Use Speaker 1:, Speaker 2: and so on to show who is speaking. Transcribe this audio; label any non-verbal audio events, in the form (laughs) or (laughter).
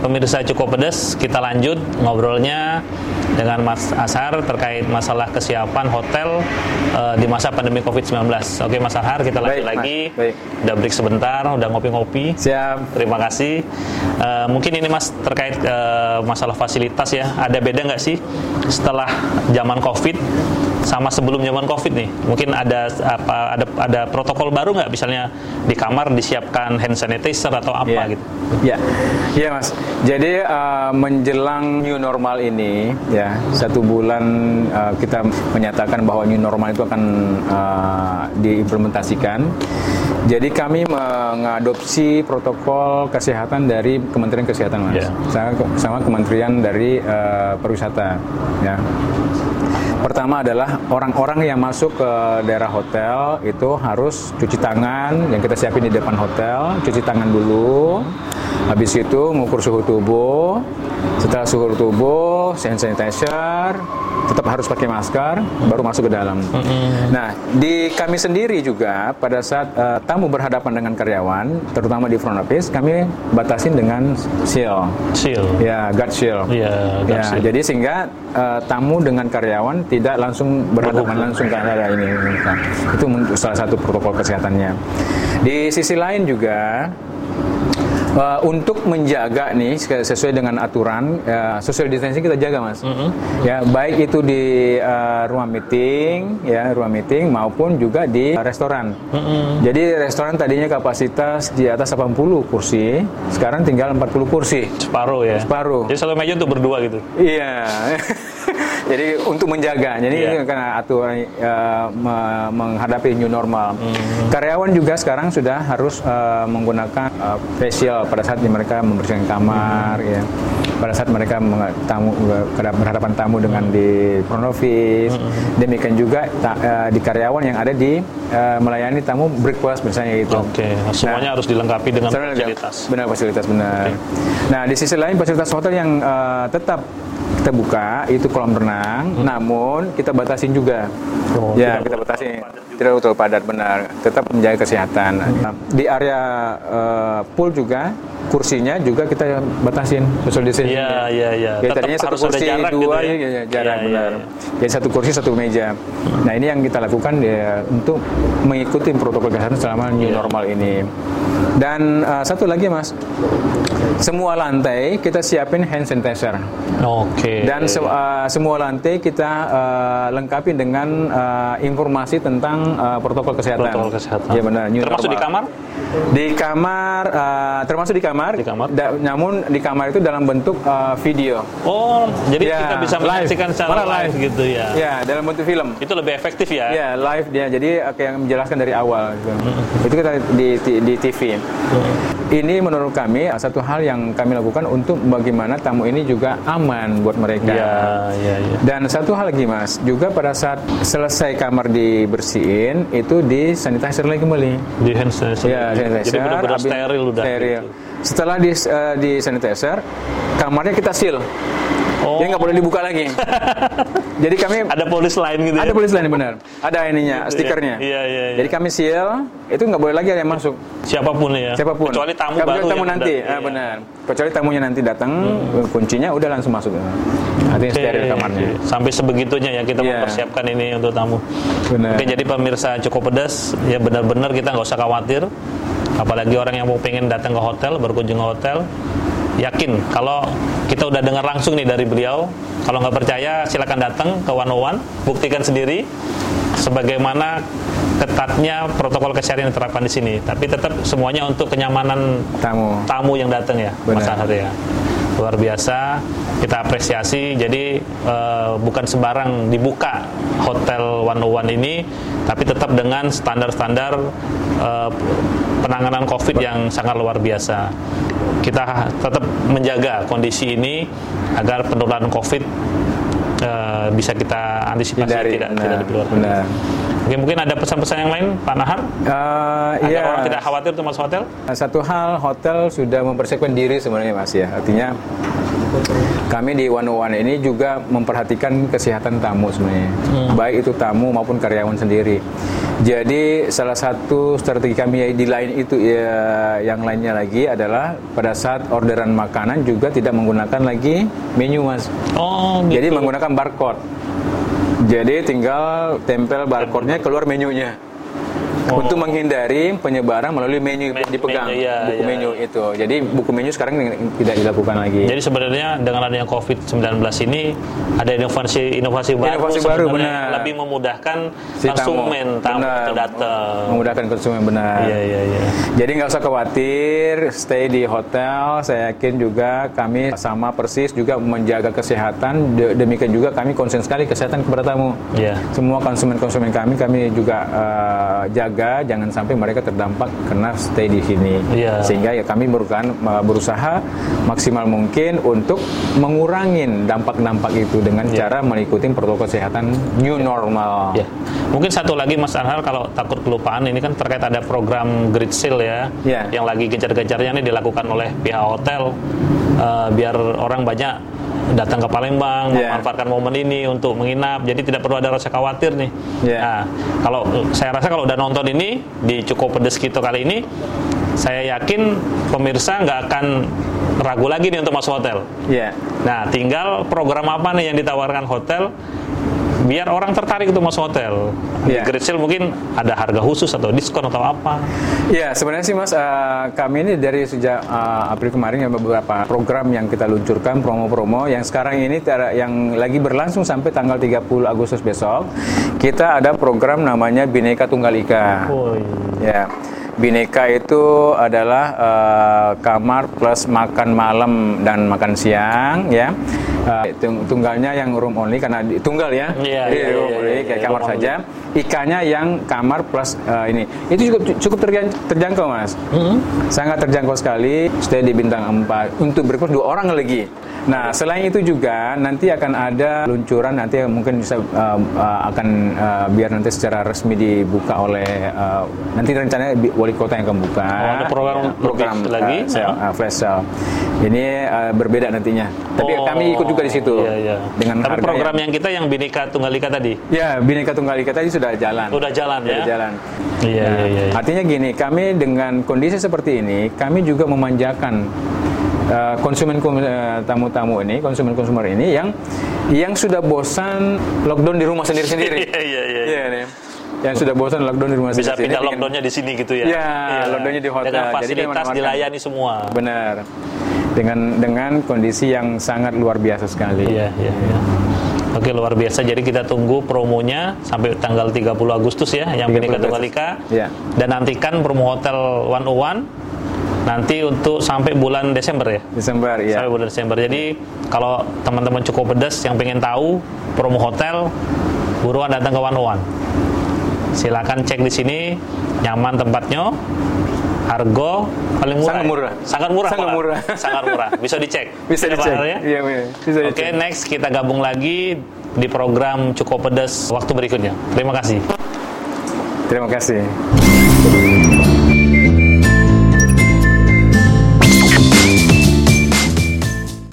Speaker 1: pemirsa cukup pedas, kita lanjut ngobrolnya dengan Mas Ashar terkait masalah kesiapan hotel eh, di masa pandemi COVID-19. Oke Mas Ashar, kita lanjut
Speaker 2: Baik, Mas.
Speaker 1: lagi.
Speaker 2: Baik.
Speaker 1: Udah break sebentar, udah ngopi-ngopi.
Speaker 2: Siap.
Speaker 1: Terima kasih. Eh, mungkin ini Mas terkait eh, masalah fasilitas ya. Ada beda nggak sih setelah zaman COVID sama sebelum zaman COVID nih? Mungkin ada apa ada ada protokol baru nggak? Misalnya di kamar disiapkan hand sanitizer atau apa
Speaker 2: Iya.
Speaker 1: gitu?
Speaker 2: Iya. Iya, Mas. Jadi eh, menjelang new normal ini ya, satu bulan eh, kita menyatakan bahwa new normal itu akan eh, diimplementasikan. Jadi kami mengadopsi protokol kesehatan dari Kementerian Kesehatan, Mas.
Speaker 1: Iya.
Speaker 2: Sama, sama Kementerian dari eh, Pariwisata, ya. Pertama adalah orang-orang yang masuk ke daerah hotel itu harus cuci tangan yang kita siapin di depan hotel, cuci tangan dulu. Habis itu mengukur suhu tubuh. Setelah suhu tubuh, hand sanitizer, tetap harus pakai masker baru masuk ke dalam. Nah, di kami sendiri juga pada saat eh, tamu berhadapan dengan karyawan, terutama di front office, kami batasin dengan seal.
Speaker 1: Chill.
Speaker 2: Ya, guard shield.
Speaker 1: Iya, guard
Speaker 2: Ya,
Speaker 1: shield.
Speaker 2: jadi sehingga eh, tamu dengan karyawan tidak langsung berhadapan langsung ke arah ini. Nah, itu men- salah satu protokol kesehatannya. Di sisi lain juga eh, untuk menjaga nih se- sesuai dengan aturan eh, social distancing kita jaga mas. Ya baik itu di eh, ruang meeting ya ruang meeting maupun juga di restoran. Jadi restoran tadinya kapasitas di atas 80 kursi, sekarang tinggal 40 kursi.
Speaker 1: Separuh ya.
Speaker 2: Separuh.
Speaker 1: Jadi satu meja untuk berdua gitu.
Speaker 2: Iya. (laughs) Jadi untuk menjaga, jadi
Speaker 1: Iya.
Speaker 2: ini karena aturan eh, me- menghadapi new normal.
Speaker 1: Hmm.
Speaker 2: Karyawan juga sekarang sudah harus eh, menggunakan eh, facial pada saat mereka membersihkan kamar,
Speaker 1: Hmm.
Speaker 2: ya. Pada saat mereka meng- tamu berhadapan tamu dengan
Speaker 1: Hmm.
Speaker 2: di front office, demikian juga ta- eh, di karyawan yang ada di eh, melayani tamu breakfast misalnya gitu.
Speaker 1: Oke. Semuanya harus dilengkapi dengan
Speaker 2: Sebenarnya enggak.
Speaker 1: fasilitas.
Speaker 2: Benar fasilitas benar. Nah di sisi lain fasilitas hotel yang eh, tetap kita buka itu kolam renang,
Speaker 1: Hmm.
Speaker 2: namun kita batasin juga.
Speaker 1: Oh, tidak
Speaker 2: ya kita batasin. Tidak betul padat benar. Tetap menjaga kesehatan.
Speaker 1: Hmm.
Speaker 2: Nah, Di area eh, pool juga kursinya juga kita batasin social distancing.
Speaker 1: Iya, iya, iya.
Speaker 2: Jadi
Speaker 1: Tetap
Speaker 2: tadinya satu
Speaker 1: harus ada
Speaker 2: kursi
Speaker 1: jarak
Speaker 2: dua
Speaker 1: gitu ya.
Speaker 2: ya, ya, jarak
Speaker 1: Iya, iya,
Speaker 2: benar.
Speaker 1: iya.
Speaker 2: Jadi satu kursi satu meja. Nah ini yang kita lakukan ya untuk mengikuti protokol kesehatan selama
Speaker 1: Iya.
Speaker 2: new normal ini. Dan eh, satu lagi mas, semua lantai kita siapin hand sanitizer
Speaker 1: Oke.
Speaker 2: dan se- eh, semua lantai kita eh, lengkapi dengan eh, informasi tentang eh, protokol kesehatan.
Speaker 1: Protokol kesehatan.
Speaker 2: Iya benar. new
Speaker 1: Termasuk di
Speaker 2: normal.
Speaker 1: kamar?
Speaker 2: Di kamar eh, termasuk di kamar.
Speaker 1: Di kamar.
Speaker 2: Da- namun di kamar itu dalam bentuk eh, video.
Speaker 1: Oh, jadi
Speaker 2: Iya,
Speaker 1: kita bisa
Speaker 2: live.
Speaker 1: menyaksikan secara
Speaker 2: Malah
Speaker 1: live.
Speaker 2: live.
Speaker 1: gitu ya.
Speaker 2: Ya, dalam bentuk film.
Speaker 1: Itu lebih efektif ya.
Speaker 2: Ya, live dia. Jadi eh, kayak menjelaskan dari awal gitu.
Speaker 1: Hmm.
Speaker 2: Itu kita di di- di TV. Ini menurut kami eh, satu hal yang kami lakukan untuk bagaimana tamu ini juga aman buat mereka.
Speaker 1: Iya, iya, iya.
Speaker 2: Dan satu hal lagi mas, juga pada saat selesai kamar dibersihin itu di sanitizer lagi kembali.
Speaker 1: Di hand sanitizer.
Speaker 2: Ya,
Speaker 1: Jadi
Speaker 2: sanitizer.
Speaker 1: benar-benar
Speaker 2: habis-
Speaker 1: steril udah.
Speaker 2: Steril.
Speaker 1: gitu.
Speaker 2: Setelah di eh, di sanitizer, kamarnya kita seal.
Speaker 1: Oh.
Speaker 2: Jadi nggak boleh dibuka
Speaker 1: (laughs)
Speaker 2: lagi. Jadi kami
Speaker 1: Ada polis lain gitu ya.
Speaker 2: ada tulis lain benar. Ada
Speaker 1: Gitu
Speaker 2: ininya,
Speaker 1: ya.
Speaker 2: stikernya.
Speaker 1: Iya, iya, iya.
Speaker 2: Jadi kami seal, itu nggak boleh lagi ada yang masuk.
Speaker 1: Siapapun ya.
Speaker 2: Siapapun.
Speaker 1: Kecuali tamu
Speaker 2: Kecuali
Speaker 1: baru.
Speaker 2: tamu
Speaker 1: yang datang.
Speaker 2: nanti. Ah,
Speaker 1: Iya. Hmm.
Speaker 2: benar. Kecuali tamunya nanti datang, kuncinya udah langsung masuk. Artinya
Speaker 1: Oke.
Speaker 2: steril kamarnya.
Speaker 1: Sampai sebegitunya ya kita
Speaker 2: Iya.
Speaker 1: mempersiapkan ini untuk tamu.
Speaker 2: Benar.
Speaker 1: Oke, jadi pemirsa cukup pedas ya benar-benar kita nggak usah khawatir. Apalagi orang yang mau pengen datang ke hotel, berkunjung ke hotel, yakin kalau kita udah dengar langsung nih dari beliau. Kalau nggak percaya silakan datang ke 101, buktikan sendiri sebagaimana ketatnya protokol kesehatan yang diterapkan di sini. Tapi tetap semuanya untuk kenyamanan
Speaker 2: Tamu.
Speaker 1: tamu yang datang ya Mas
Speaker 2: Benar.
Speaker 1: Ahad ya luar biasa kita apresiasi jadi eh, bukan sembarang dibuka hotel 101 ini tapi tetap dengan standar-standar eh, penanganan covid yang sangat luar biasa kita tetap menjaga kondisi ini agar penularan covid eh, bisa kita antisipasi
Speaker 2: Hindari.
Speaker 1: tidak
Speaker 2: Benar,
Speaker 1: tidak diperlukan.
Speaker 2: benar.
Speaker 1: Oke, mungkin ada pesan-pesan yang lain Pak Nahar
Speaker 2: Eh,
Speaker 1: agar
Speaker 2: iya.
Speaker 1: orang tidak khawatir untuk masuk
Speaker 2: Nah,
Speaker 1: hotel
Speaker 2: Satu hal hotel sudah mempersiapkan diri sebenarnya Mas ya. Artinya Kami di 101 ini juga memperhatikan kesehatan tamu sebenarnya, baik itu tamu maupun karyawan sendiri. Jadi salah satu strategi kami di lain itu ya, yang lainnya lagi adalah pada saat orderan makanan juga tidak menggunakan lagi menu mas.
Speaker 1: Oh, gitu.
Speaker 2: Jadi menggunakan barcode. Jadi tinggal tempel barcode-nya keluar menunya.
Speaker 1: Oh.
Speaker 2: Untuk menghindari penyebaran melalui menu
Speaker 1: Men-
Speaker 2: dipegang
Speaker 1: menu, iya,
Speaker 2: buku
Speaker 1: iya,
Speaker 2: menu itu. Jadi buku menu sekarang tidak dilakukan lagi.
Speaker 1: Jadi sebenarnya dengan adanya COVID-19 ini ada inovasi inovasi baru,
Speaker 2: Inovasi baru,
Speaker 1: sebenarnya
Speaker 2: benar.
Speaker 1: lebih memudahkan
Speaker 2: Si
Speaker 1: konsumen tamu
Speaker 2: benar,
Speaker 1: itu datang.
Speaker 2: Memudahkan konsumen benar.
Speaker 1: Iya iya iya.
Speaker 2: Jadi nggak usah khawatir, stay di hotel. Saya yakin juga kami sama persis juga menjaga kesehatan. De- Demikian juga kami konsen sekali kesehatan kepada tamu.
Speaker 1: Iya.
Speaker 2: Semua konsumen-konsumen kami kami juga eh, jaga jangan sampai mereka terdampak karena stay di sini.
Speaker 1: Iya.
Speaker 2: Sehingga ya kami merupakan eh, berusaha maksimal mungkin untuk mengurangi dampak-dampak itu dengan
Speaker 1: Iya.
Speaker 2: cara mengikuti protokol kesehatan new normal.
Speaker 1: Ya. Mungkin satu lagi Mas Anhar kalau takut kelupaan ini kan terkait ada program grid sale ya
Speaker 2: Ya.
Speaker 1: yang lagi gencar-gencarnya ini dilakukan oleh pihak hotel eh, biar orang banyak datang ke Palembang
Speaker 2: Ya.
Speaker 1: memanfaatkan momen ini untuk menginap jadi tidak perlu ada rasa khawatir nih.
Speaker 2: Ya.
Speaker 1: Nah, kalau saya rasa kalau udah nonton ini di cukup pedes kita kali ini saya yakin pemirsa nggak akan ragu lagi nih untuk masuk hotel.
Speaker 2: Ya.
Speaker 1: Nah, tinggal program apa nih yang ditawarkan hotel biar orang tertarik untuk masuk hotel.
Speaker 2: Iya.
Speaker 1: Di Great Sale mungkin ada harga khusus atau diskon atau apa.
Speaker 2: Ya, sebenarnya sih Mas, eh, kami ini dari sejak eh, April kemarin ada beberapa program yang kita luncurkan, promo-promo yang sekarang ini ter- yang lagi berlangsung sampai tanggal 30 Agustus besok. Kita ada program namanya Bineka Tunggal Ika. Ya. Bineka itu adalah eh, kamar plus makan malam dan makan siang ya. Eh, tung- tunggalnya yang room only karena di- tunggal ya.
Speaker 1: Iya,
Speaker 2: Jadi
Speaker 1: iya, iya,
Speaker 2: room
Speaker 1: iya,
Speaker 2: only
Speaker 1: iya,
Speaker 2: kayak
Speaker 1: iya,
Speaker 2: kamar
Speaker 1: room only.
Speaker 2: saja. ya, Ikannya yang kamar plus eh, ini. Itu cukup cukup terjan- terjangkau, Mas.
Speaker 1: Hmm.
Speaker 2: Sangat terjangkau sekali. Stay di bintang 4 untuk berkurang dua orang lagi. Nah, selain itu juga nanti akan ada luncuran nanti yang mungkin bisa eh, eh, akan eh, biar nanti secara resmi dibuka oleh eh, nanti rencananya bi- wali kota yang akan buka.
Speaker 1: Oh, ada program
Speaker 2: Ya,
Speaker 1: lebih lagi? ya?
Speaker 2: eh, sale, eh, flash sale. Ini eh, berbeda nantinya. Tapi
Speaker 1: Oh,
Speaker 2: kami ikut juga di situ.
Speaker 1: Iya, iya.
Speaker 2: Dengan
Speaker 1: Tapi
Speaker 2: harga
Speaker 1: program
Speaker 2: yang-
Speaker 1: yang kita yang Bineka Tunggal Ika tadi
Speaker 2: Ya, Bhinneka Tunggal Ika tadi sudah jalan.
Speaker 1: udah jalan
Speaker 2: Sudah
Speaker 1: ya.
Speaker 2: jalan.
Speaker 1: Iya,
Speaker 2: Nah,
Speaker 1: iya, iya, iya.
Speaker 2: Artinya gini, kami dengan kondisi seperti ini, kami juga memanjakan eh, konsumen kom- eh, tamu-tamu ini, konsumen-konsumer ini yang yang sudah bosan lockdown di rumah sendiri-sendiri.
Speaker 1: (laughs) Iya, iya, iya.
Speaker 2: Iya, nih. Yang sudah bosan lockdown di rumah
Speaker 1: Bisa
Speaker 2: sendiri.
Speaker 1: pindah lockdownnya di sini gitu ya.
Speaker 2: Iya, lockdownnya di hotel.
Speaker 1: Dengan
Speaker 2: Jadi dia
Speaker 1: fasilitas
Speaker 2: menawarkan.
Speaker 1: dilayani semua.
Speaker 2: Benar. Dengan dengan kondisi yang sangat luar biasa sekali.
Speaker 1: Iya, iya, iya. Oke, luar biasa. Jadi kita tunggu promonya sampai tanggal 30 Agustus ya, yang
Speaker 2: 30
Speaker 1: Binika Tunggal
Speaker 2: Agustus.
Speaker 1: Ika.
Speaker 2: Iya.
Speaker 1: Dan nantikan promo Hotel 101 nanti untuk sampai bulan Desember ya.
Speaker 2: Desember, ya.
Speaker 1: Sampai bulan Desember. Jadi kalau teman-teman cukup pedas yang pengen tahu promo hotel, buruan datang ke 101. Silakan cek di sini, nyaman tempatnya, harga paling murah.
Speaker 2: Sangat
Speaker 1: ya?
Speaker 2: murah.
Speaker 1: Sangat murah.
Speaker 2: Sangat
Speaker 1: malah.
Speaker 2: murah.
Speaker 1: Sangat murah. Bisa dicek.
Speaker 2: (laughs) Bisa
Speaker 1: Ya, Pak
Speaker 2: dicek.
Speaker 1: Har, ya?
Speaker 2: Iya, iya. bisa
Speaker 1: Oke,
Speaker 2: dicek.
Speaker 1: next kita gabung lagi di program Cukup Pedas waktu berikutnya. Terima kasih.
Speaker 2: Terima kasih.